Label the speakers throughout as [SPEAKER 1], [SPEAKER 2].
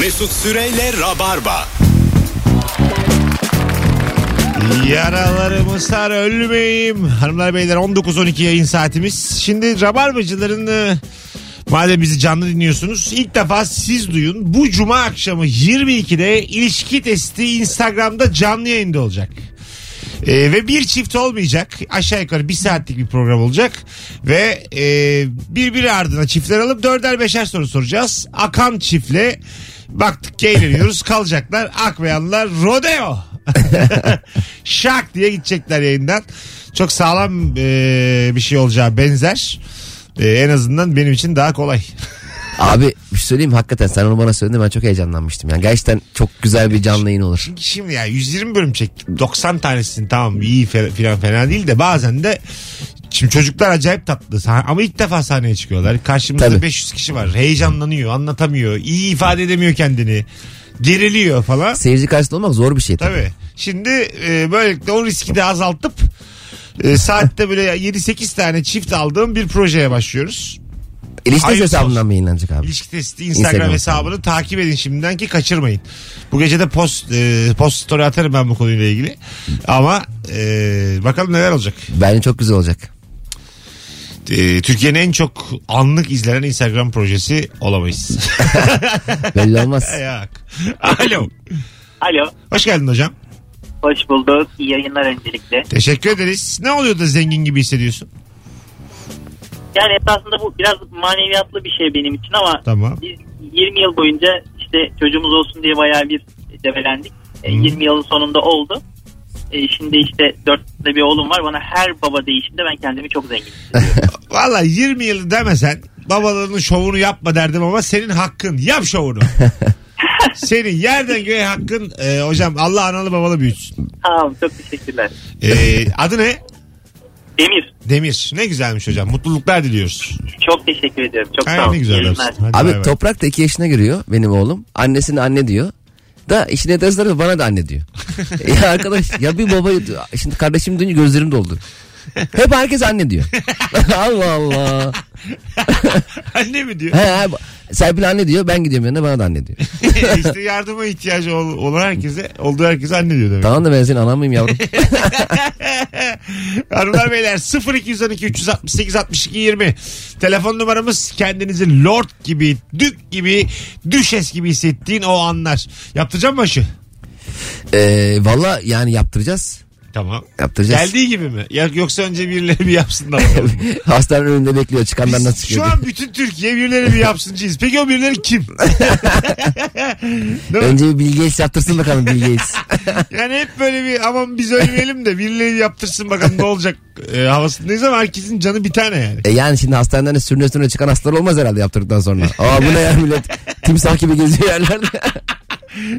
[SPEAKER 1] Mesut Süreyle Rabarba.
[SPEAKER 2] Yaralarımı sar ölmeyeyim. Hanımlar beyler 19.12 yayın saatimiz. Şimdi Rabarbacıların e, madem bizi canlı dinliyorsunuz ilk defa siz duyun. Bu cuma akşamı 22'de ilişki testi Instagram'da canlı yayında olacak. E, ve bir çift olmayacak. Aşağı yukarı bir saatlik bir program olacak. Ve e, birbiri ardına çiftler alıp dörder beşer soru soracağız. Akan çiftle baktık ki eğleniyoruz. Kalacaklar akmayanlar rodeo. Şak diye gidecekler yayından. Çok sağlam e, bir şey olacağı benzer. E, en azından benim için daha kolay.
[SPEAKER 3] Abi bir şey söyleyeyim mi? hakikaten sen onu bana söyledin ben çok heyecanlanmıştım. Yani gerçekten çok güzel bir canlı yayın olur.
[SPEAKER 2] Şimdi ya 120 bölüm çektim. 90 tanesini tamam iyi fe- filan fena değil de bazen de Şimdi çocuklar acayip tatlı Sah- ama ilk defa sahneye çıkıyorlar. Karşımızda
[SPEAKER 3] Tabii.
[SPEAKER 2] 500 kişi var. Heyecanlanıyor, anlatamıyor, iyi ifade edemiyor kendini. Geriliyor falan.
[SPEAKER 3] Seyirci karşısında olmak zor bir şey tabii.
[SPEAKER 2] Tabii. Şimdi e, böylelikle o riski de azaltıp e, saatte böyle 7-8 tane çift aldığım bir projeye başlıyoruz.
[SPEAKER 3] İlişki
[SPEAKER 2] Hayırlısı
[SPEAKER 3] hesabından mı yayınlanacak abi?
[SPEAKER 2] İlişki testi Instagram,
[SPEAKER 3] Instagram
[SPEAKER 2] hesabını takip edin şimdiden ki kaçırmayın. Bu gece de post e, post story atarım ben bu konuyla ilgili. Ama e, bakalım neler olacak.
[SPEAKER 3] Bence çok güzel olacak.
[SPEAKER 2] E, Türkiye'nin en çok anlık izlenen Instagram projesi olamayız.
[SPEAKER 3] Belli olmaz.
[SPEAKER 2] Yok. Alo.
[SPEAKER 4] Alo.
[SPEAKER 2] Hoş geldin hocam.
[SPEAKER 4] Hoş bulduk. İyi yayınlar öncelikle.
[SPEAKER 2] Teşekkür ederiz. Ne oluyor da zengin gibi hissediyorsun?
[SPEAKER 4] Yani esasında bu biraz maneviyatlı bir şey benim için ama
[SPEAKER 2] Tamam.
[SPEAKER 4] biz 20 yıl boyunca işte çocuğumuz olsun diye bayağı bir debelendik. E,
[SPEAKER 2] Hı.
[SPEAKER 4] 20 yılın sonunda oldu. E, şimdi işte 4 de bir oğlum var. Bana her baba değişinde ben kendimi çok zengin hissediyorum.
[SPEAKER 2] Valla 20 yıl demesen babalarının şovunu yapma derdim ama senin hakkın yap şovunu. senin yerden göğe hakkın e, hocam Allah analı babalı büyütsün.
[SPEAKER 4] tamam çok teşekkürler.
[SPEAKER 2] E, adı ne?
[SPEAKER 4] Demir
[SPEAKER 2] Demir. Ne güzelmiş hocam. Mutluluklar diliyoruz.
[SPEAKER 4] çok teşekkür ediyorum. Çok
[SPEAKER 2] Ay,
[SPEAKER 4] sağ olun.
[SPEAKER 2] ne
[SPEAKER 4] İyi
[SPEAKER 2] güzel
[SPEAKER 4] yayınlar.
[SPEAKER 2] adamsın. Hadi
[SPEAKER 3] Abi
[SPEAKER 2] bay bay.
[SPEAKER 3] toprak da iki yaşına giriyor benim oğlum. Annesine anne diyor. Da işin enteresan tarafı bana da anne diyor. ya arkadaş ya bir baba şimdi kardeşim duyunca gözlerim doldu. Hep herkes anne diyor. Allah Allah.
[SPEAKER 2] Anne mi diyor?
[SPEAKER 3] He, he, Serpil anne diyor ben gidiyorum yanına bana da anne diyor.
[SPEAKER 2] işte yardıma ihtiyacı ol- olan herkese, olduğu herkese anne diyor demek.
[SPEAKER 3] Tamam da ben senin anan mıyım yavrum?
[SPEAKER 2] Hanımlar beyler 0212 368 62 20 telefon numaramız kendinizi lord gibi dük gibi düşes gibi hissettiğin o anlar yaptıracağım mı aşı?
[SPEAKER 3] Ee, Valla yani yaptıracağız.
[SPEAKER 2] Tamam.
[SPEAKER 3] Yaptıracağız.
[SPEAKER 2] Geldiği gibi mi? Ya- Yoksa önce birileri bir yapsın da bakalım.
[SPEAKER 3] Hastanenin önünde bekliyor çıkanlar
[SPEAKER 2] Biz
[SPEAKER 3] nasıl çıkıyor.
[SPEAKER 2] şu
[SPEAKER 3] diye.
[SPEAKER 2] an bütün Türkiye birileri bir yapsıncıyız. Peki o birileri kim? Değil mi?
[SPEAKER 3] Önce bir Bill Gates yaptırsın bakalım Bill Gates.
[SPEAKER 2] Yani hep böyle bir aman biz ölmeyelim de birileri yaptırsın bakalım ne olacak e, havasındayız ama herkesin canı bir tane yani.
[SPEAKER 3] E yani şimdi hastaneden sürüne sürüne çıkan hastalar olmaz herhalde yaptırdıktan sonra. Aa bu ne ya millet timsah gibi geziyor yerlerde.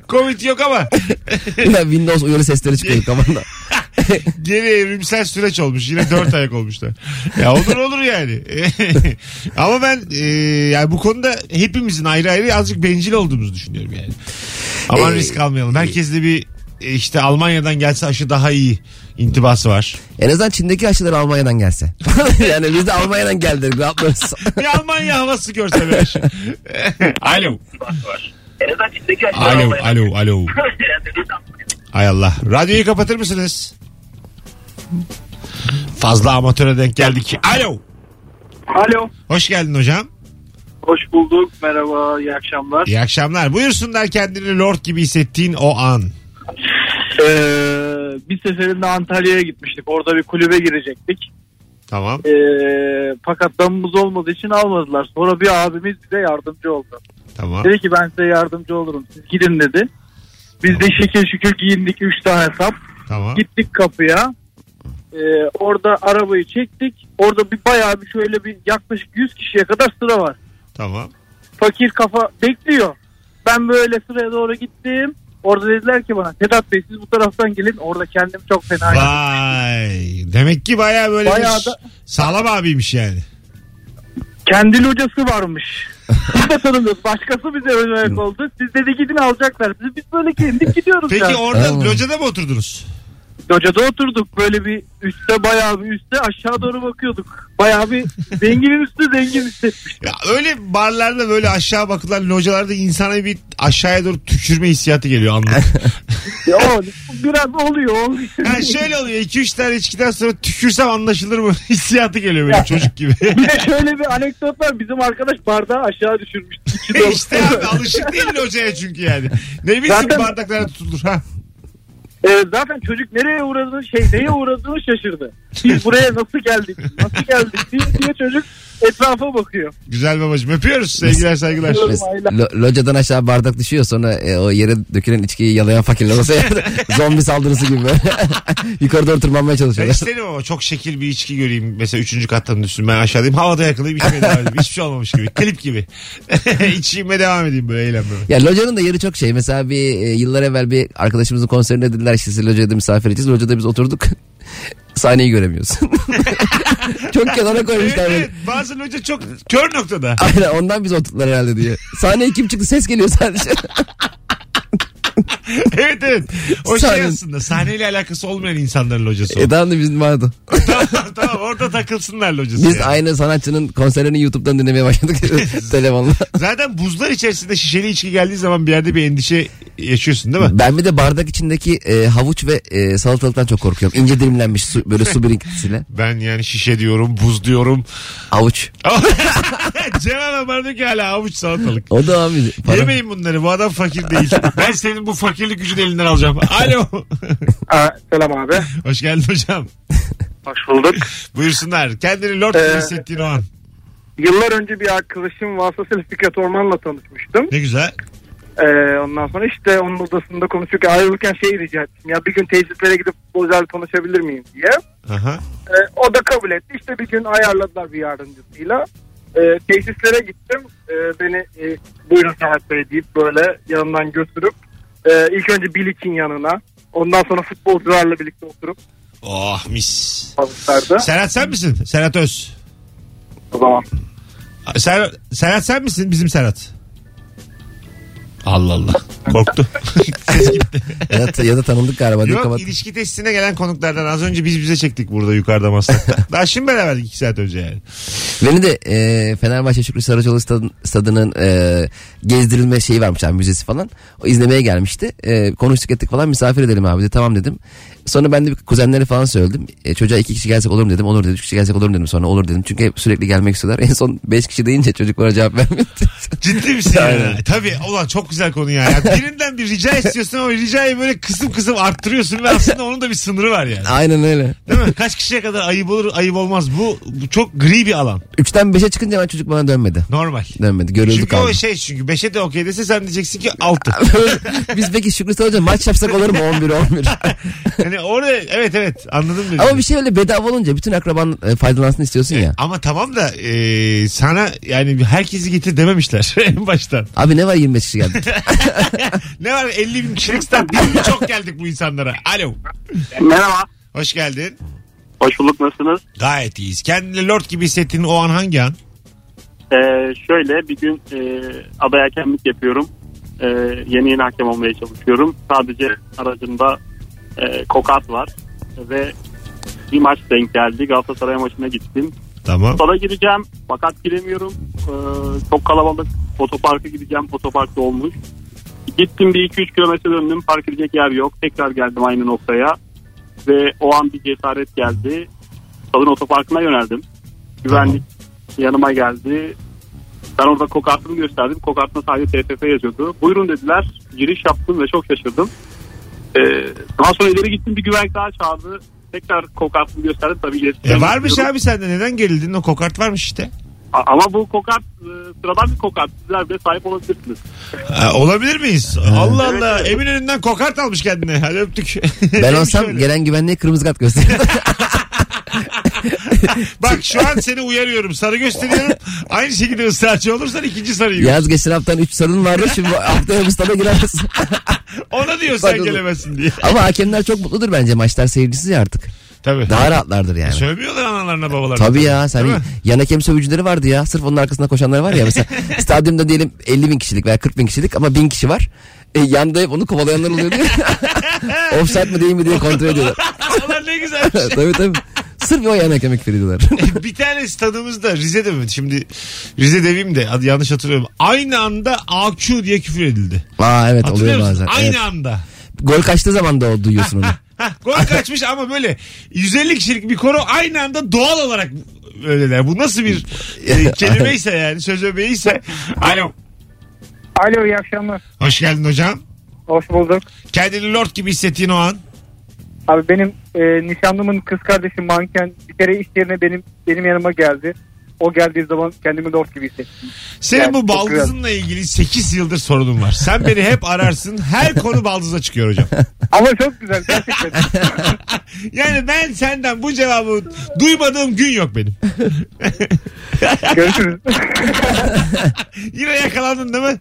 [SPEAKER 2] Covid yok ama
[SPEAKER 3] ya Windows uyarı sesleri çıkıyor kafanda.
[SPEAKER 2] geri evrimsel süreç olmuş. Yine dört ayak olmuşlar. Ya olur olur yani. ama ben e, yani bu konuda hepimizin ayrı ayrı azıcık bencil olduğumuzu düşünüyorum yani. Aman
[SPEAKER 3] Ee,
[SPEAKER 2] risk almayalım. Herkes de bir e, işte Almanya'dan gelse aşı daha iyi intibası var.
[SPEAKER 3] En azından Çin'deki aşılar Almanya'dan gelse. yani biz de Almanya'dan geldik ne yapıyoruz?
[SPEAKER 2] Bir Almanya havası görse bir aşı. alo. Alo, alo, alo. Ay Allah. Radyoyu kapatır mısınız? Fazla amatöre denk geldik. Alo.
[SPEAKER 5] Alo.
[SPEAKER 2] Hoş geldin hocam.
[SPEAKER 5] Hoş bulduk. Merhaba. iyi akşamlar.
[SPEAKER 2] İyi akşamlar. Buyursunlar kendini lord gibi hissettiğin o an.
[SPEAKER 5] Ee, bir seferinde Antalya'ya gitmiştik. Orada bir kulübe girecektik.
[SPEAKER 2] Tamam.
[SPEAKER 5] Ee, fakat damımız olmadığı için almadılar. Sonra bir abimiz bize yardımcı oldu.
[SPEAKER 2] Tamam.
[SPEAKER 5] Dedi ki ben size yardımcı olurum. Siz gidin dedi. Biz de şekil şükür giyindik 3 tane sap.
[SPEAKER 2] Tamam.
[SPEAKER 5] Gittik kapıya. Ee, orada arabayı çektik. Orada bir bayağı bir şöyle bir yaklaşık 100 kişiye kadar sıra var.
[SPEAKER 2] Tamam.
[SPEAKER 5] fakir kafa bekliyor. Ben böyle sıraya doğru gittim. Orada dediler ki bana Sedat Bey siz bu taraftan gelin. Orada kendim çok fena yaptım.
[SPEAKER 2] Vay. Demek ki baya böyle
[SPEAKER 5] Bayağı
[SPEAKER 2] bir
[SPEAKER 5] da-
[SPEAKER 2] sağlam abiymiş yani.
[SPEAKER 5] Kendili hocası varmış. Biz de tanımıyoruz. Başkası bize ön ayak oldu. Siz dedi gidin alacaklar. Biz, biz böyle kendik gidiyoruz
[SPEAKER 2] Peki
[SPEAKER 5] ya.
[SPEAKER 2] orada
[SPEAKER 3] Tamam.
[SPEAKER 2] locada mı oturdunuz?
[SPEAKER 5] Locada oturduk böyle bir üstte bayağı bir üstte aşağı doğru bakıyorduk. Bayağı bir zenginin üstü zengin üstü.
[SPEAKER 2] Ya öyle barlarda böyle aşağı bakılan localarda insana bir aşağıya doğru tükürme hissiyatı geliyor anlık.
[SPEAKER 5] Ya o biraz oluyor oluyor.
[SPEAKER 2] Ha şöyle oluyor 2-3 tane içkiden sonra tükürsem anlaşılır mı hissiyatı geliyor böyle çocuk gibi.
[SPEAKER 5] Bir de şöyle bir anekdot var. Bizim arkadaş bardağı aşağı düşürmüştü. İki dolu.
[SPEAKER 2] işte abi alışık değil locaya çünkü yani. Ne bilsin
[SPEAKER 5] Zaten-
[SPEAKER 2] bardaklara tutulur ha.
[SPEAKER 5] Ee, zaten çocuk nereye uğradığını şey neye uğradığını şaşırdı. Biz buraya nasıl geldik? Nasıl geldik diye, diye çocuk etrafa bakıyor.
[SPEAKER 2] Güzel babacığım öpüyoruz sevgiler saygılar.
[SPEAKER 5] Öpüyorum.
[SPEAKER 3] Mes- lo- locadan aşağı bardak düşüyor sonra e, o yere dökülen içkiyi yalayan fakirler olsa ya, zombi saldırısı gibi böyle. Yukarı doğru tırmanmaya
[SPEAKER 2] Ben
[SPEAKER 3] çalışıyorlar.
[SPEAKER 2] isterim ama çok şekil bir içki göreyim. Mesela üçüncü kattan düşsün ben aşağıdayım. Havada yakalayayım içmeye devam edeyim. Hiçbir şey olmamış gibi. Klip gibi. İçime devam edeyim böyle eğlenmeme.
[SPEAKER 3] Ya locanın da yeri çok şey. Mesela bir e, yıllar evvel bir arkadaşımızın konserine dediler işte sizi locada misafir edeceğiz. Locada biz oturduk. Sahneyi göremiyorsun. çok kenara
[SPEAKER 2] Evet,
[SPEAKER 3] koymuşlar.
[SPEAKER 2] evet.
[SPEAKER 3] beni.
[SPEAKER 2] Bazı loca çok kör noktada.
[SPEAKER 3] Aynen ondan biz oturttular herhalde diye. Sahneye kim çıktı ses geliyor sadece.
[SPEAKER 2] evet evet. O şey
[SPEAKER 3] Sahne-
[SPEAKER 2] aslında sahneyle alakası olmayan insanların locası. o.
[SPEAKER 3] e tamam da bizim vardı.
[SPEAKER 2] tamam tamam orada takılsınlar locası.
[SPEAKER 3] Biz
[SPEAKER 2] yani.
[SPEAKER 3] aynı sanatçının konserlerini YouTube'dan dinlemeye başladık telefonla.
[SPEAKER 2] Zaten buzlar içerisinde şişeli içki geldiği zaman bir yerde bir endişe yaşıyorsun değil mi?
[SPEAKER 3] Ben bir de bardak içindeki e, havuç ve e, salatalıktan çok korkuyorum. İnce dilimlenmiş su, böyle su birikintisiyle.
[SPEAKER 2] Ben yani şişe diyorum, buz diyorum.
[SPEAKER 3] Havuç.
[SPEAKER 2] Cem hemen bana diyor ki hala avuç salatalık.
[SPEAKER 3] O da abi. para-
[SPEAKER 2] Yemeyin bunları bu adam fakir değil. ben senin bu fakirlik gücünü elinden alacağım. Alo.
[SPEAKER 5] Aa, selam abi.
[SPEAKER 2] Hoş geldin hocam.
[SPEAKER 5] Hoş bulduk.
[SPEAKER 2] Buyursunlar. Kendini lord gibi
[SPEAKER 5] Ee,
[SPEAKER 2] hissettiğin o an.
[SPEAKER 5] Yıllar önce bir arkadaşım vasıtasıyla Fikret Orman'la tanışmıştım.
[SPEAKER 2] Ne güzel.
[SPEAKER 5] Ee, ondan sonra işte onun odasında konuşurken ayrılırken şey rica ettim. Ya bir gün tecitlere gidip futbolcularla tanışabilir miyim diye.
[SPEAKER 2] Aha.
[SPEAKER 5] Ee, o da kabul etti. İşte bir gün ayarladılar bir yardımcısıyla. Ee, tesislere gittim. Ee, beni e, buyurun Serhat Bey deyip böyle yanından götürüp e, ilk önce Bilik'in yanına. Ondan sonra futbolcularla birlikte oturup
[SPEAKER 2] Oh mis.
[SPEAKER 5] balıklarda.
[SPEAKER 2] Serhat sen misin? Serhat Öz.
[SPEAKER 5] O zaman.
[SPEAKER 2] Ser, Serhat sen misin? Bizim Serhat. Allah Allah. Korktu. Ses gitti.
[SPEAKER 3] Ya, da- ya da tanındık galiba. diye
[SPEAKER 2] Yok
[SPEAKER 3] kapat-
[SPEAKER 2] ilişki testine gelen konuklardan az önce biz bize çektik burada yukarıda maslakta. Daha şimdi beraberdik iki saat önce yani.
[SPEAKER 3] Beni de e, Fenerbahçe Şükrü Saracoğlu stad- stadının e, gezdirilme şeyi varmış abi müzesi falan. O izlemeye gelmişti. E, konuştuk ettik falan misafir edelim abi dedi. Tamam dedim. Sonra ben de bir kuzenleri falan söyledim. E, çocuğa iki kişi gelsek olur mu dedim. Olur dedi. Üç kişi gelsek olur mu dedim. Sonra olur dedim. Çünkü hep sürekli gelmek istiyorlar. En son beş kişi deyince çocuk bana cevap vermedi.
[SPEAKER 2] Ciddi misin yani?
[SPEAKER 3] Aynen.
[SPEAKER 2] Tabii ulan çok güzel konu ya. ya. Birinden bir rica istiyorsun ama ricayı böyle kısım kısım arttırıyorsun ve aslında onun da bir sınırı var yani.
[SPEAKER 3] Aynen öyle.
[SPEAKER 2] Değil mi? Kaç kişiye kadar ayıp olur ayıp olmaz. Bu, bu çok gri bir alan.
[SPEAKER 3] Üçten beşe çıkınca hemen çocuk bana dönmedi.
[SPEAKER 2] Normal.
[SPEAKER 3] Dönmedi. Görüldü
[SPEAKER 2] Çünkü
[SPEAKER 3] kaldı.
[SPEAKER 2] o şey çünkü 5'e de okey dese sen diyeceksin ki 6.
[SPEAKER 3] Biz peki Şükrü Saracoğlu maç yapsak olur mu 11-11?
[SPEAKER 2] Yani orada evet evet anladım dedim.
[SPEAKER 3] Ama bir şey öyle bedava olunca bütün akraban e, faydalansın istiyorsun ya.
[SPEAKER 2] Ama tamam da e, sana yani herkesi getir dememişler en baştan.
[SPEAKER 3] Abi ne var 25 kişi geldi.
[SPEAKER 2] Ne var 50 bin kişilik stat değil mi? Çok geldik bu insanlara. Alo.
[SPEAKER 4] Merhaba.
[SPEAKER 2] Hoş geldin.
[SPEAKER 4] Hoş bulduk nasılsınız?
[SPEAKER 2] Gayet iyiyiz. Kendini lord gibi hissettiğin o an hangi an?
[SPEAKER 4] Ee, şöyle bir gün e, aday hakemlik yapıyorum. Ee, yeni yeni hakem olmaya çalışıyorum. Sadece aracımda e, kokat var ve bir maç denk geldi. Galatasaray maçına gittim.
[SPEAKER 2] Tamam.
[SPEAKER 4] Sala gireceğim fakat giremiyorum. Ee, çok kalabalık. Otoparka gideceğim. Otoparkta olmuş. Gittim bir 2-3 kilometre döndüm. Park edecek yer yok. Tekrar geldim aynı noktaya. Ve o an bir cesaret geldi. Salın otoparkına yöneldim. Güvenlik yanıma geldi. Ben orada kokartımı gösterdim. Kokartına sadece TFF yazıyordu. Buyurun dediler. Giriş yaptım ve çok şaşırdım. Ee, daha sonra ileri gittim. Bir güvenlik daha çağırdı. Tekrar kokartımı gösterdim. Tabii iletişim.
[SPEAKER 2] E varmış abi sende neden gerildin? O kokart varmış işte.
[SPEAKER 4] A- Ama bu kokart e, sıradan bir kokart. Sizler bile sahip olabilirsiniz.
[SPEAKER 2] Ha, olabilir miyiz? Allah Allah. Emin önünden kokart almış kendine. Hadi öptük.
[SPEAKER 3] Ben
[SPEAKER 2] Neymiş
[SPEAKER 3] olsam
[SPEAKER 2] öyle?
[SPEAKER 3] gelen güvenliğe kırmızı kart gösteririm.
[SPEAKER 2] Bak şu an seni uyarıyorum. Sarı gösteriyorum. Aynı şekilde ısrarcı olursan ikinci sarıyı. gör.
[SPEAKER 3] Yaz geçen haftan 3 sarın vardı şimdi bu haftaya bu stada giremez.
[SPEAKER 2] Ona diyor sen
[SPEAKER 3] Pardon.
[SPEAKER 2] gelemezsin diye.
[SPEAKER 3] Ama hakemler çok mutludur bence maçlar seyircisiz ya artık.
[SPEAKER 2] Tabii.
[SPEAKER 3] Daha rahatlardır yani.
[SPEAKER 2] Sövmüyorlar analarına babalarına.
[SPEAKER 3] Tabii ya sen
[SPEAKER 2] Şey Değil mi?
[SPEAKER 3] yan hakem sövücüleri vardı ya. Sırf onun arkasında koşanlar var ya. Mesela stadyumda diyelim 50 bin kişilik veya 40 bin kişilik ama bin kişi var. E, yanda hep onu kovalayanlar oluyor diye. Offside mı değil mi diye kontrol ediyorlar.
[SPEAKER 2] ne güzel.
[SPEAKER 3] tabii tabii. Sırf o yana kemik veriyorlar.
[SPEAKER 2] bir tane stadımızda Rize'de mi? Şimdi Rize demeyeyim de adı yanlış hatırlıyorum. Aynı anda AQ diye küfür edildi.
[SPEAKER 3] Aa evet
[SPEAKER 2] Hatırlıyor
[SPEAKER 3] oluyor
[SPEAKER 2] musun?
[SPEAKER 3] bazen.
[SPEAKER 2] Aynı
[SPEAKER 3] Evet.
[SPEAKER 2] anda.
[SPEAKER 3] Gol kaçtığı zaman da o duyuyorsun onu.
[SPEAKER 2] Hah, gol kaçmış ama böyle 150 kişilik bir koro aynı anda doğal olarak öyleler. Bu nasıl bir e, kelimeyse yani söz öbeğiyse. Alo.
[SPEAKER 5] Alo iyi akşamlar.
[SPEAKER 2] Hoş geldin hocam.
[SPEAKER 5] Hoş bulduk.
[SPEAKER 2] Kendini lord gibi hissettiğin o an.
[SPEAKER 5] Abi benim e, nişanlımın kız kardeşi manken bir kere iş yerine benim benim yanıma geldi. O geldiği zaman kendimi lord gibi hissettim.
[SPEAKER 2] Senin
[SPEAKER 5] Yani
[SPEAKER 2] bu
[SPEAKER 5] çok
[SPEAKER 2] baldızınla ilgili 8 yıldır sorunun var. Sen beni hep ararsın. Her konu baldıza çıkıyor hocam.
[SPEAKER 5] Ama çok güzel gerçekten.
[SPEAKER 2] Yani ben senden bu cevabı duymadığım gün yok benim.
[SPEAKER 5] Görüşürüz.
[SPEAKER 2] Yine yakalandın değil mi?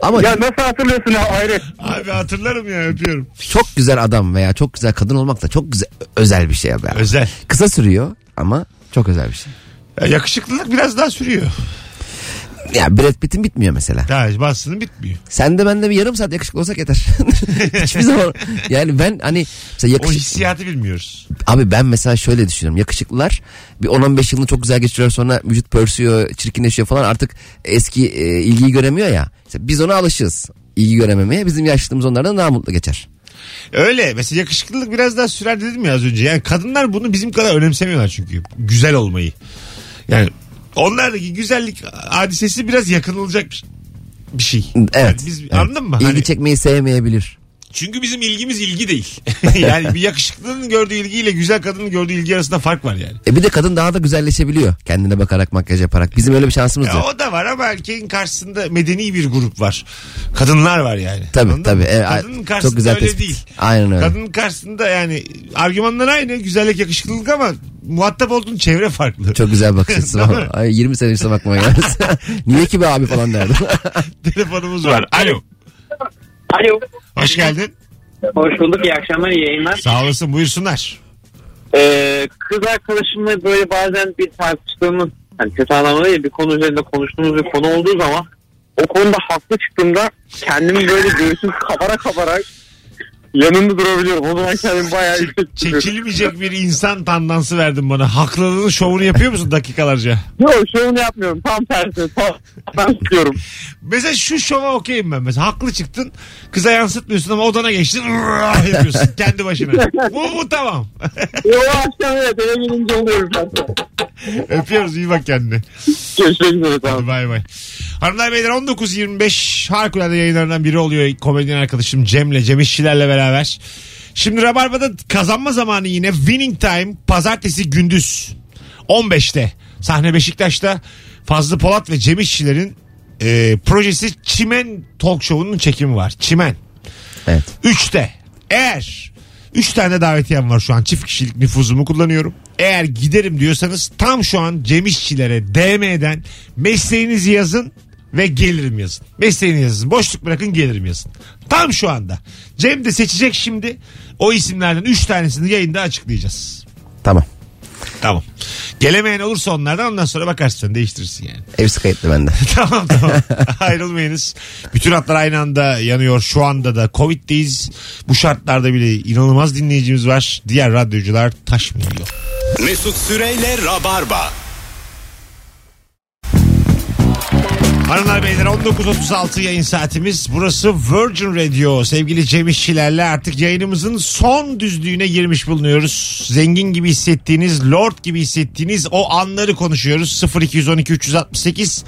[SPEAKER 3] Ama
[SPEAKER 5] ya nasıl hatırlıyorsun ya hayret.
[SPEAKER 2] Abi hatırlarım ya öpüyorum.
[SPEAKER 3] çok güzel adam veya çok güzel kadın olmak da çok güzel özel bir şey abi.
[SPEAKER 2] Özel.
[SPEAKER 3] Kısa sürüyor ama çok özel bir şey.
[SPEAKER 2] Ya yakışıklılık biraz daha sürüyor.
[SPEAKER 3] Ya Brad Pitt'in bitmiyor mesela.
[SPEAKER 2] Daha bahsinin bitmiyor.
[SPEAKER 3] Sen de ben de bir yarım saat yakışıklı olsak yeter. Hiçbir zaman. Yani ben hani mesela
[SPEAKER 2] O
[SPEAKER 3] yakışık...
[SPEAKER 2] hissiyatı bilmiyoruz.
[SPEAKER 3] Abi ben mesela şöyle düşünüyorum. Yakışıklılar bir 10-15 yılını çok güzel geçiriyor sonra vücut pörsüyor, çirkinleşiyor falan. Artık eski e, ilgiyi göremiyor ya. Mesela biz ona alışığız. İlgi görememeye. Bizim yaşlılığımız onlardan daha mutlu geçer.
[SPEAKER 2] Öyle mesela yakışıklılık biraz daha sürer dedim ya az önce. Yani kadınlar bunu bizim kadar önemsemiyorlar çünkü. Güzel olmayı. Yani onlardaki güzellik hadisesi biraz yakınılacak bir şey.
[SPEAKER 3] Evet.
[SPEAKER 2] Yani biz, Anladın mı?
[SPEAKER 3] İlgi
[SPEAKER 2] Hani-
[SPEAKER 3] çekmeyi sevmeyebilir.
[SPEAKER 2] çünkü bizim ilgimiz ilgi değil. yani bir yakışıklının gördüğü ilgiyle güzel kadının gördüğü ilgi arasında fark var yani.
[SPEAKER 3] E bir de kadın daha da güzelleşebiliyor. Kendine bakarak, makyaj yaparak. Bizim öyle bir şansımız
[SPEAKER 2] Ya
[SPEAKER 3] yok.
[SPEAKER 2] o da var ama erkeğin karşısında medeni bir grup var. Kadınlar var yani.
[SPEAKER 3] Tabii
[SPEAKER 2] Anladın
[SPEAKER 3] tabii.
[SPEAKER 2] mı?
[SPEAKER 3] E, a-
[SPEAKER 2] Kadının karşısında öyle
[SPEAKER 3] tespit.
[SPEAKER 2] değil.
[SPEAKER 3] Aynen öyle.
[SPEAKER 2] Kadının karşısında yani argümanlar aynı. Güzellik, yakışıklılık ama muhatap olduğun çevre farklı.
[SPEAKER 3] Çok güzel bakış açısı
[SPEAKER 2] Değil
[SPEAKER 3] var.
[SPEAKER 2] mi?
[SPEAKER 3] Ay 20 sene üstüne bakmaya gelmez. Niye ki be abi falan derdim.
[SPEAKER 2] Telefonumuz var. Alo.
[SPEAKER 6] Alo.
[SPEAKER 2] Hoş geldin.
[SPEAKER 6] Hoş bulduk. İyi akşamlar. iyi yayınlar.
[SPEAKER 2] Sağ olasın buyursunlar.
[SPEAKER 6] Ee, kız arkadaşımla böyle bazen bir tartıştığımız hani kötü anlamda değil bir konu üzerinde konuştuğumuz bir konu olduğu zaman o konuda haklı çıktığımda kendimi böyle göğsüm kabara kabara yanında durabiliyorum. O zaman kendimi bayağı yüksek tutuyorum.
[SPEAKER 2] Çekilmeyecek bir insan tandansı verdin bana. Haklılığın şovunu yapıyor musun dakikalarca?
[SPEAKER 6] Yok şey onu yapmıyorum. Tam tersine. Tam, ben tutuyorum.
[SPEAKER 2] Mesela şu şova okeyim ben. Mesela haklı çıktın. Kıza yansıtmıyorsun ama odana geçtin. "Urgh" yapıyorsun kendi başına. bu bu tamam.
[SPEAKER 6] E, o akşam evet eve gelince oluyorum zaten.
[SPEAKER 2] Öpüyoruz iyi bak kendine.
[SPEAKER 6] Görüşmek üzere. Tamam.
[SPEAKER 2] Hadi bay bay. Hanımlar beyler 19.25 harikulade yayınlarından biri oluyor. Komedyen arkadaşım Cem'le, Cem İşçiler'le beraber. Şimdi Rabarba'da kazanma zamanı yine Winning Time pazartesi gündüz 15'te sahne Beşiktaş'ta Fazlı Polat ve Cem İşçilerin e, projesi Çimen Talk Show'unun çekimi var. Çimen.
[SPEAKER 3] Evet.
[SPEAKER 2] Üçte eğer üç tane davetiyem var şu an çift kişilik nüfuzumu kullanıyorum. Eğer giderim diyorsanız tam şu an Cem İşçilere DM'den mesleğinizi yazın ve gelirim yazın. Mesleğini yazın. Boşluk bırakın gelirim yazın. Tam şu anda. Cem de seçecek şimdi. O isimlerden üç tanesini yayında açıklayacağız.
[SPEAKER 3] Tamam.
[SPEAKER 2] Tamam. Gelemeyen olursa onlardan ondan sonra bakarsın değiştirirsin yani.
[SPEAKER 3] Hepsi kayıtlı bende.
[SPEAKER 2] tamam tamam. Ayrılmayınız. Bütün hatlar aynı anda yanıyor. Şu anda da Covid'deyiz. Bu şartlarda bile inanılmaz dinleyicimiz var. Diğer radyocular taşmıyor.
[SPEAKER 1] Mesut Süreyle Rabarba.
[SPEAKER 2] Hanımlar beyler 19.36 yayın saatimiz. Burası Virgin Radio. Sevgili Cem İşçilerle artık yayınımızın son düzlüğüne girmiş bulunuyoruz. Zengin gibi hissettiğiniz, lord gibi hissettiğiniz o anları konuşuyoruz. 0212 368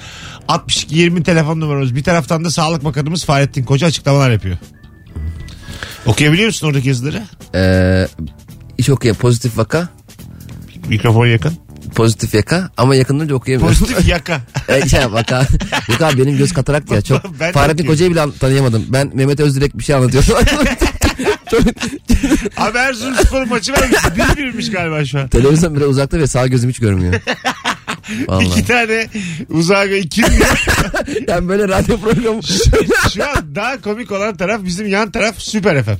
[SPEAKER 2] 62 20 telefon numaramız. Bir taraftan da Sağlık Bakanımız Fahrettin Koca açıklamalar yapıyor. Okuyabiliyor musun oradaki yazıları?
[SPEAKER 3] Ee, iş okuya pozitif vaka.
[SPEAKER 2] Mikrofon yakın.
[SPEAKER 3] Pozitif yaka ama yakından da okuyamıyorum.
[SPEAKER 2] Pozitif yaka.
[SPEAKER 3] Evet, şey vaka. Yok abi benim göz katarakt ya çok.
[SPEAKER 2] Ben de
[SPEAKER 3] Fahrettin
[SPEAKER 2] okuyorum.
[SPEAKER 3] Koca'yı bile an- tanıyamadım. Ben Mehmet Özdirek bir şey anlatıyordum.
[SPEAKER 2] Abi Erzurumspor maçı vermiş. Bir birmiş galiba şu an.
[SPEAKER 3] Televizyon bile uzakta ve sağ gözüm hiç görmüyor. Vallahi.
[SPEAKER 2] İki tane uzağa ve iki
[SPEAKER 3] Yani böyle radyo programı.
[SPEAKER 2] Şu an daha komik olan taraf bizim yan taraf Süper FM.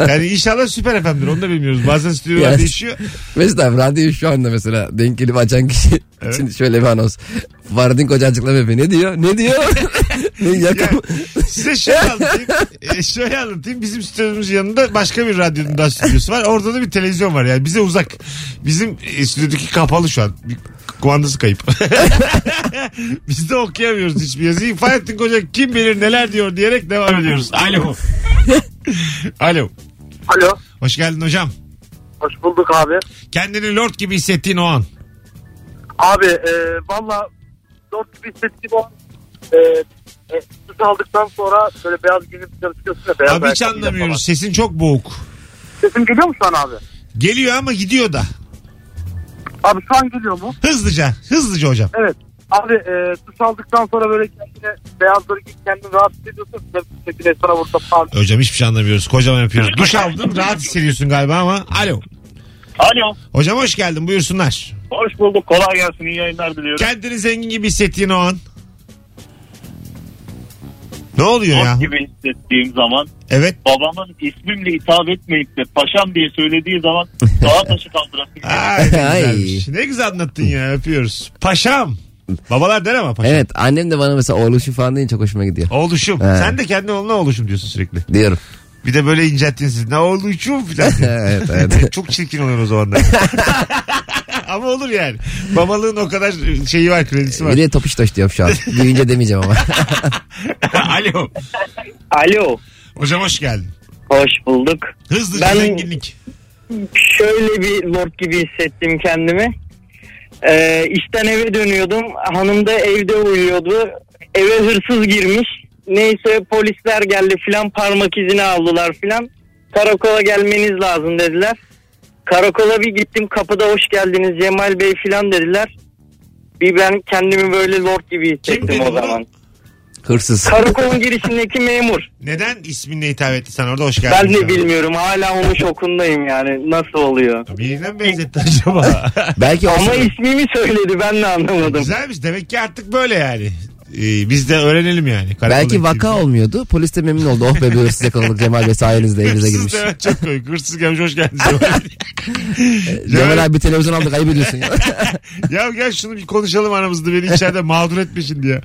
[SPEAKER 2] Yani inşallah Süper FM'dir onu da bilmiyoruz. Bazen stüdyolar
[SPEAKER 3] Yes.
[SPEAKER 2] değişiyor.
[SPEAKER 3] Mesela radyoyu şu anda mesela denk gelip açan kişi. Şimdi şöyle bir anons. Fahrettin Koca açıklama yapıyor. Ne diyor? Ne diyor? Ne yakam-
[SPEAKER 2] Size şöyle anlatayım. E, şöyle anlatayım. Bizim stüdyomuzun yanında başka bir radyonun daha stüdyosu var. Orada da bir televizyon var yani. Bize uzak. Bizim e, stüdyodaki kapalı şu an. Bir kumandası kayıp. Biz de okuyamıyoruz hiçbir yazıyı. Fahrettin Koca kim bilir neler diyor diyerek devam ediyoruz. Alo. Alo.
[SPEAKER 5] Alo.
[SPEAKER 2] Hoş geldin hocam.
[SPEAKER 5] Hoş bulduk abi.
[SPEAKER 2] Kendini lord gibi hissettiğin o an.
[SPEAKER 5] Abi e, valla dört gibi hissettiğim o e, e, süt aldıktan sonra böyle beyaz giyinip dışarı çıkıyorsun ya. Beyaz
[SPEAKER 2] Abi hiç
[SPEAKER 5] ayakkabıyla
[SPEAKER 2] anlamıyoruz. Sesin çok boğuk.
[SPEAKER 5] falan. Sesim geliyor mu şu an abi?
[SPEAKER 2] Geliyor ama gidiyor da.
[SPEAKER 5] Abi şu an geliyor mu?
[SPEAKER 2] Hızlıca. Hızlıca hocam.
[SPEAKER 5] Evet. Abi e, duş aldıktan sonra böyle kendine beyazları giyip kendini rahatsız ediyorsun. Sürekli restorana vurup da falan.
[SPEAKER 2] Hocam hiçbir şey anlamıyoruz. Kocaman yapıyoruz. Duş aldın rahat hissediyorsun galiba ama. Alo.
[SPEAKER 7] Alo.
[SPEAKER 2] Hocam hoş geldin buyursunlar.
[SPEAKER 7] Hoş bulduk. Kolay gelsin. İyi yayınlar diliyorum.
[SPEAKER 2] Kendini zengin gibi hissettiğin o an. Ne oluyor ya?
[SPEAKER 7] Dost gibi hissettiğim zaman
[SPEAKER 2] Evet.
[SPEAKER 7] babamın ismimle hitap etmeyip de paşam diye söylediği zaman daha taşı şey. kaldırası geliyor.
[SPEAKER 2] Ay, ne,
[SPEAKER 3] Ay.
[SPEAKER 2] güzelmiş. ne güzel anlattın ya öpüyoruz. Paşam. Babalar der ama paşam.
[SPEAKER 3] Evet annem de bana mesela oğluşu falan deyince çok hoşuma gidiyor.
[SPEAKER 2] Oluşum.
[SPEAKER 3] Evet.
[SPEAKER 2] Sen de kendi oğluna oluşum diyorsun sürekli.
[SPEAKER 3] Diyorum.
[SPEAKER 2] Bir de böyle incelttin siz. Ne oluşum filan. diye.
[SPEAKER 3] evet evet.
[SPEAKER 2] Çok çirkin oluyor o zamanlar. ama olur yani. Babalığın o kadar şeyi var kredisi var.
[SPEAKER 3] Bir de topiş taş diyorum şu an. Büyüyünce demeyeceğim ama.
[SPEAKER 2] Alo.
[SPEAKER 6] Alo.
[SPEAKER 2] Hocam hoş geldin.
[SPEAKER 6] Hoş bulduk.
[SPEAKER 2] Hızlıca
[SPEAKER 6] Ben-
[SPEAKER 2] zenginlik.
[SPEAKER 6] şöyle bir lord gibi hissettim kendimi. Ee, işten eve dönüyordum. Hanım da evde uyuyordu. Eve hırsız girmiş. Neyse polisler geldi filan parmak izini aldılar filan. Karakola gelmeniz lazım dediler. Karakola bir gittim kapıda hoş geldiniz Cemal Bey filan dediler. Bir ben kendimi böyle lord gibi
[SPEAKER 2] dedi
[SPEAKER 6] hissettim o
[SPEAKER 2] bunu?
[SPEAKER 6] zaman.
[SPEAKER 3] Hırsız.
[SPEAKER 6] Karakolun girişindeki memur.
[SPEAKER 2] Neden isminle hitap etti sana orada hoş geldin.
[SPEAKER 6] Ben de
[SPEAKER 2] sana.
[SPEAKER 6] bilmiyorum hala onun şokundayım yani nasıl oluyor.
[SPEAKER 2] Birine mi benzetti acaba?
[SPEAKER 3] Belki o
[SPEAKER 6] Ama ismimi söyledi ben de anlamadım.
[SPEAKER 2] Güzelmiş. Demek ki artık böyle yani. Ee, biz de öğrenelim yani. Karakola
[SPEAKER 3] Belki vaka
[SPEAKER 2] gittiğimizde.
[SPEAKER 3] olmuyordu. Polis de memnun oldu. Oh be bir hırsız yakaladık Cemal Bey sayenizde evinize
[SPEAKER 2] Hırsız
[SPEAKER 3] girmiş.
[SPEAKER 2] da evet, çok komik. Hırsız gelmiş hoş geldin. Cemal.
[SPEAKER 3] Cemal abi bir televizyon aldık ayıp ediyorsun ya.
[SPEAKER 2] ya gel şunu bir konuşalım aramızda beni içeride mağdur etme şimdi ya.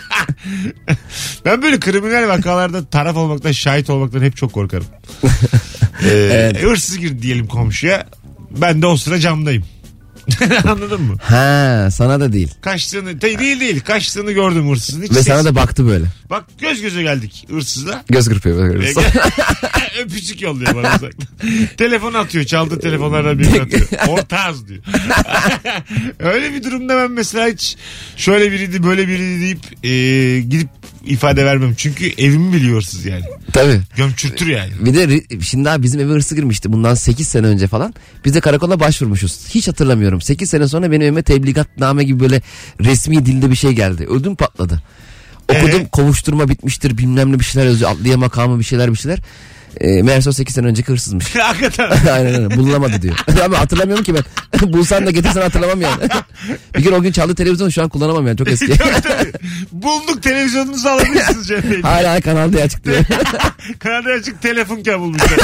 [SPEAKER 2] ben böyle kriminal vakalarda taraf olmaktan şahit olmaktan hep çok korkarım. Ee, Hırsız girdi diyelim komşuya. Ben de o sıra camdayım. Anladın mı?
[SPEAKER 3] ha sana da değil.
[SPEAKER 2] Kaçtığını te- değil değil kaçtığını gördüm hırsızın. Hiç
[SPEAKER 3] Ve
[SPEAKER 2] ses-
[SPEAKER 3] sana da baktı böyle.
[SPEAKER 2] Bak göz göze geldik hırsızla.
[SPEAKER 3] Göz kırpıyor böyle.
[SPEAKER 2] Ee, Öpücük yolluyor bana uzaktan. Telefon atıyor. Çaldığı telefonlardan birini atıyor. Ortağız diyor. Öyle bir durumda ben mesela hiç şöyle biriydi böyle biriydi deyip e, gidip ifade vermem. Çünkü evimi biliyorsunuz yani.
[SPEAKER 3] Tabii.
[SPEAKER 2] Gömçürtür yani.
[SPEAKER 3] Bir de ri- şimdi abi bizim eve hırsız girmişti bundan 8 sene önce falan. Biz de karakola başvurmuşuz. Hiç hatırlamıyorum. 8 sene sonra benim evime tebligatname gibi böyle resmi dilde bir şey geldi. Ödüm patladı. Okudum
[SPEAKER 2] Ee?
[SPEAKER 3] kovuşturma bitmiştir bilmem ne bir şeyler yazıyor. Adliye makamı bir şeyler bir şeyler. Ee, meğerse o 8 sene önceki hırsızmış.
[SPEAKER 2] Hakikaten.
[SPEAKER 3] Aynen öyle bulunamadı diyor. Ama hatırlamıyorum ki ben. Bulsam da getirsen hatırlamam yani. bir gün o gün çaldı televizyonu şu an kullanamam yani çok eski.
[SPEAKER 2] Tabii, tabii. Bulduk televizyonunuzu alabilirsiniz Cem Bey.
[SPEAKER 3] Hala kanal diye açık diyor.
[SPEAKER 2] Kanada açık telefon kabul bulmuşlar.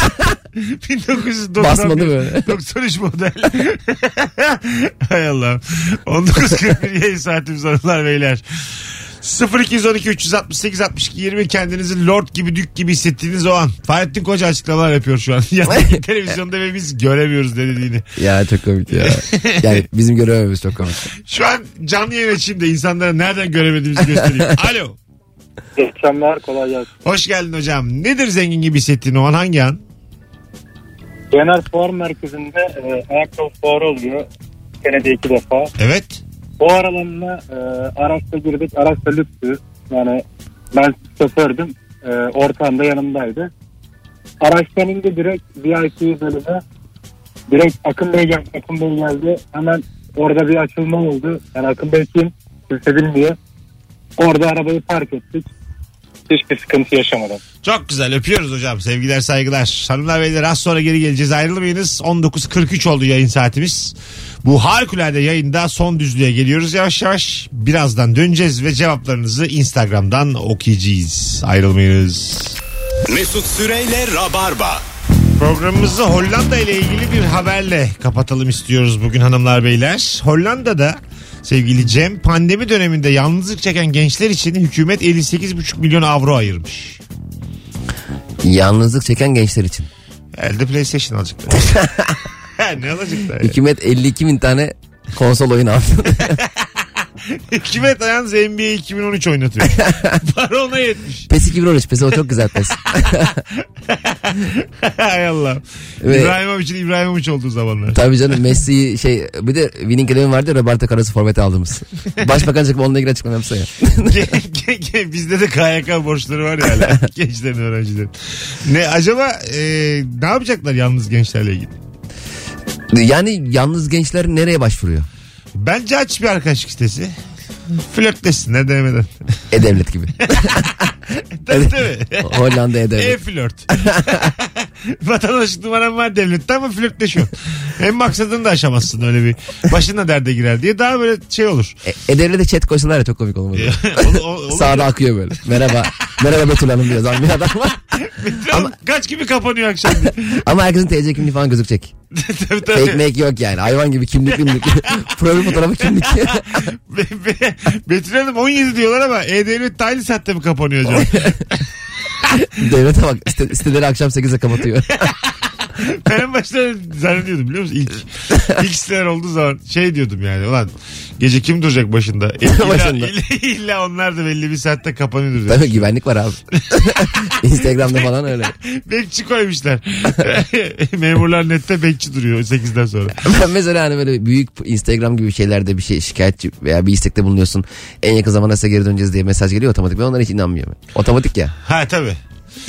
[SPEAKER 2] 1990
[SPEAKER 3] Basmadı böyle.
[SPEAKER 2] 93 model. Hay Allah. 1941 yayın saatimiz hanımlar beyler. 0212 368 62 20 kendinizi lord gibi dük gibi hissettiğiniz o an. Fahrettin Koca açıklamalar yapıyor şu an. Yani televizyonda ve biz göremiyoruz ne dediğini.
[SPEAKER 3] ya çok komik ya. Yani bizim görevimiz çok komik.
[SPEAKER 2] Şu an canlı yayın açayım da insanlara nereden göremediğimizi göstereyim. Alo.
[SPEAKER 5] İyi akşamlar kolay gelsin.
[SPEAKER 2] Hoş geldin hocam. Nedir zengin gibi hissettiğin o an hangi an?
[SPEAKER 5] Genel fuar merkezinde e, ayakkabı fuarı oluyor. Senede iki defa.
[SPEAKER 2] Evet.
[SPEAKER 5] O aralarına e, araçla girdik. Araçta lüktü. Yani ben şofördüm. E, ortağım da yanımdaydı. Araçtan indi direkt VIP bölüme. Direkt Akın Bey geldi. Akın Bey geldi. Hemen orada bir açılma oldu. Yani Akın Bey kim? Kimse bilmiyor. Orada arabayı park ettik. Hiçbir sıkıntı yaşamadım.
[SPEAKER 2] Çok güzel öpüyoruz hocam. Sevgiler saygılar. Hanımlar beyler az sonra geri geleceğiz. Ayrılmayınız. 19.43 oldu yayın saatimiz. Bu harikulade yayında son düzlüğe geliyoruz yavaş yavaş. Birazdan döneceğiz ve cevaplarınızı Instagram'dan okuyacağız. Ayrılmayınız.
[SPEAKER 1] Mesut Süreyle Rabarba.
[SPEAKER 2] Programımızı Hollanda ile ilgili bir haberle kapatalım istiyoruz bugün hanımlar beyler. Hollanda'da sevgili Cem. Pandemi döneminde yalnızlık çeken gençler için hükümet 58,5 milyon avro ayırmış.
[SPEAKER 3] Yalnızlık çeken gençler için.
[SPEAKER 2] Elde PlayStation alacaklar. ne alacaklar? yani?
[SPEAKER 3] Hükümet 52 bin tane konsol oyun aldı.
[SPEAKER 2] Hükümet ayağınız NBA 2013 oynatıyor. Para ona yetmiş.
[SPEAKER 3] PES 2013. PES o çok güzel PES.
[SPEAKER 2] Hay Allah.
[SPEAKER 3] Ve-
[SPEAKER 2] İbrahimovic'in İbrahimovich olduğu zamanlar.
[SPEAKER 3] Tabii canım Messi şey bir de Winning Eleven vardı ya Roberto Carlos'u forvet aldığımız. Başbakan çıkıp onunla ilgili açıklama yapsa ya.
[SPEAKER 2] Ge- ge- ge- Bizde de KYK borçları var ya hala. gençlerin öğrencilerin. Ne acaba e, ne yapacaklar yalnız gençlerle ilgili?
[SPEAKER 3] Yani yalnız gençler nereye başvuruyor?
[SPEAKER 2] Bence aç bir arkadaşlık sitesi. Flörtleşsinler demeden.
[SPEAKER 3] E-Devlet gibi.
[SPEAKER 2] Tabii tabii.
[SPEAKER 3] Hollanda E-Devlet.
[SPEAKER 2] E-flört. Vatandaşlık numaram var devlette ama flörtleşiyorum. Hem maksadını da aşamazsın öyle bir. Başına derde girer diye daha böyle şey olur.
[SPEAKER 3] E- E-Devlet'e chat koysalar ya çok komik olmadı.
[SPEAKER 2] Ol- ol- olur.
[SPEAKER 3] Sağda akıyor böyle. Merhaba. Merhaba Betül Hanım diyor. Zan bir adam var.
[SPEAKER 2] Ama... Kaç gibi kapanıyor akşam.
[SPEAKER 3] Ama herkesin TC kimliği falan gözükecek.
[SPEAKER 2] tabii tabii.
[SPEAKER 3] Fake make yok yani. Hayvan gibi kimlik kimlik. Profil fotoğrafı kimlik.
[SPEAKER 2] Be- be- Betül Hanım 17 diyorlar ama E-Devlet taylı saatte mi kapanıyor acaba?
[SPEAKER 3] Devlete bak. site- siteleri akşam 8'e kapatıyor.
[SPEAKER 2] ben en başta zannediyordum biliyor musun? İlk, ilk siteler olduğu zaman şey diyordum yani. Ulan gece kim duracak başında? E, illa,
[SPEAKER 3] Başında.
[SPEAKER 2] illa- illa onlar da belli bir saatte kapanıyordur. diye.
[SPEAKER 3] Tabii güvenlik var abi. Instagram'da falan öyle.
[SPEAKER 2] Bekçi koymuşlar. Memurlar nette bekçi duruyor 8'den sonra.
[SPEAKER 3] Ben mesela hani böyle büyük Instagram gibi şeylerde bir şey şikayetçi veya bir istekte bulunuyorsun. En yakın zamanda size geri döneceğiz diye mesaj geliyor otomatik. Ben onlara hiç inanmıyorum. Otomatik ya.
[SPEAKER 2] Ha tabii.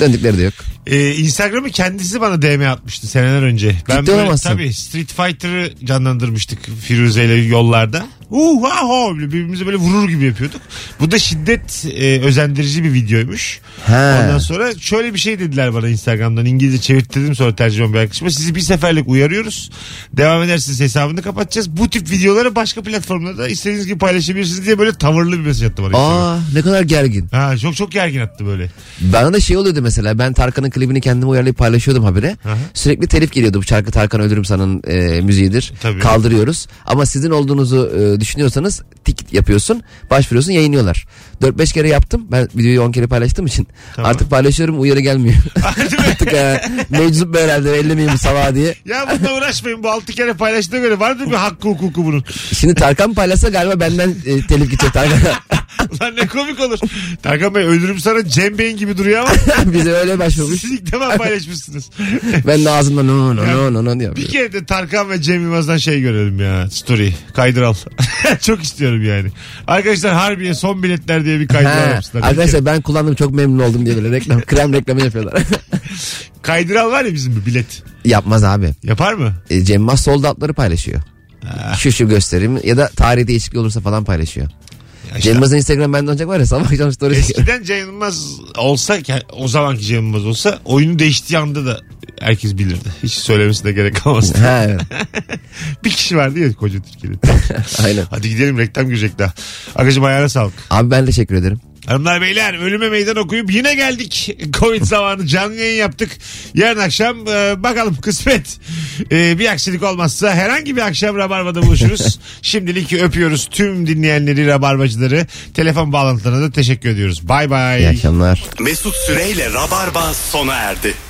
[SPEAKER 3] Döndükleri de yok.
[SPEAKER 2] Ee, Instagram'ı kendisi bana DM atmıştı seneler önce.
[SPEAKER 3] Ciddi
[SPEAKER 2] böyle-
[SPEAKER 3] olamazsın.
[SPEAKER 2] Tabii Street Fighter'ı canlandırmıştık Firuze ile yollarda. Uhaho birbirimize böyle vurur gibi yapıyorduk. Bu da şiddet e, özendirici bir videoymuş.
[SPEAKER 3] Ha.
[SPEAKER 2] Ondan sonra şöyle bir şey dediler bana Instagram'dan İngilizce çevirttirdim sonra tercüman bir arkadaşıma. Sizi bir seferlik uyarıyoruz. Devam edersiniz hesabını kapatacağız. Bu tip videoları başka platformlarda istediğiniz gibi paylaşabilirsiniz diye böyle tavırlı bir mesaj attı bana Instagram.
[SPEAKER 3] Aa ne kadar gergin.
[SPEAKER 2] Ha, çok çok gergin attı böyle.
[SPEAKER 3] Bana da şey oluyordu mesela ben Tarkan'ın klibini kendime uyarlayıp paylaşıyordum habire.
[SPEAKER 2] hı.
[SPEAKER 3] Sürekli telif geliyordu bu şarkı Tarkan Ölürüm San'ın e, müziğidir.
[SPEAKER 2] Tabii.
[SPEAKER 3] Kaldırıyoruz ama sizin olduğunuzu e, düşünüyorsanız tik yapıyorsun başvuruyorsun yayınlıyorlar. 4-5 kere yaptım ben videoyu 10 kere paylaştığım için
[SPEAKER 2] Tamam.
[SPEAKER 3] artık paylaşıyorum uyarı gelmiyor. artık e, meczup be herhalde ellemeyeyim bu salağı diye.
[SPEAKER 2] Ya bununla uğraşmayın bu altı kere paylaştığına göre vardır bir hakkı hukuku bunun.
[SPEAKER 3] Şimdi Tarkan paylaşsa galiba benden e, telif gidecek Tarkan'a.
[SPEAKER 2] Ulan ne komik olur. Tarkan Bey öldürüm sana Cem Bey'in gibi duruyor ama
[SPEAKER 3] Bize öyle başvurmuş.
[SPEAKER 2] siz ilk defa paylaşmışsınız.
[SPEAKER 3] Ben de ağzımdan no no no no no diye
[SPEAKER 2] bir
[SPEAKER 3] yapıyorum.
[SPEAKER 2] kere de Tarkan ve Cem Yılmaz'dan şey görelim ya. Story. Kaydıral. Çok istiyorum yani. Arkadaşlar Harbiye son biletler diye bir kaydıral
[SPEAKER 3] Ha,
[SPEAKER 2] yapsınlar.
[SPEAKER 3] arkadaşlar ben kullandım çok memnun oldum diye böyle reklam krem reklamı yapıyorlar.
[SPEAKER 2] Kaydıral var ya bizim bir bilet.
[SPEAKER 3] Yapmaz abi.
[SPEAKER 2] Yapar mı?
[SPEAKER 3] E, Cem Yılmaz solda atları paylaşıyor. Şu şu gösterim ya da tarih değişikliği olursa falan paylaşıyor.
[SPEAKER 2] Ya
[SPEAKER 3] Cem
[SPEAKER 2] işte
[SPEAKER 3] Yılmaz'ın Instagram benden olacak var ya sabah akşam story çekiyor.
[SPEAKER 2] Eskiden Cem Yılmaz olsa yani o zamanki Cem Yılmaz olsa oyunu değiştiği anda da herkes bilirdi. Hiç söylemesi de gerek kalmazdı.
[SPEAKER 3] Ha, evet.
[SPEAKER 2] Bir kişi vardı ya koca Türkiye'de.
[SPEAKER 3] Aynen.
[SPEAKER 2] Hadi gidelim reklam girecek daha. Akıcım ayağına sağlık.
[SPEAKER 3] Abi ben teşekkür ederim.
[SPEAKER 2] Hanımlar beyler ölüme meydan okuyup yine geldik. Covid zamanı canlı yayın yaptık. Yarın akşam e, bakalım kısmet. E, bir aksilik olmazsa herhangi bir akşam Rabarba'da buluşuruz. Şimdilik öpüyoruz tüm dinleyenleri, Rabarbacıları. Telefon bağlantılarına da teşekkür ediyoruz. Bay
[SPEAKER 3] İyi
[SPEAKER 2] bay.
[SPEAKER 3] akşamlar.
[SPEAKER 1] Mesut Süreyle Rabarba sona erdi.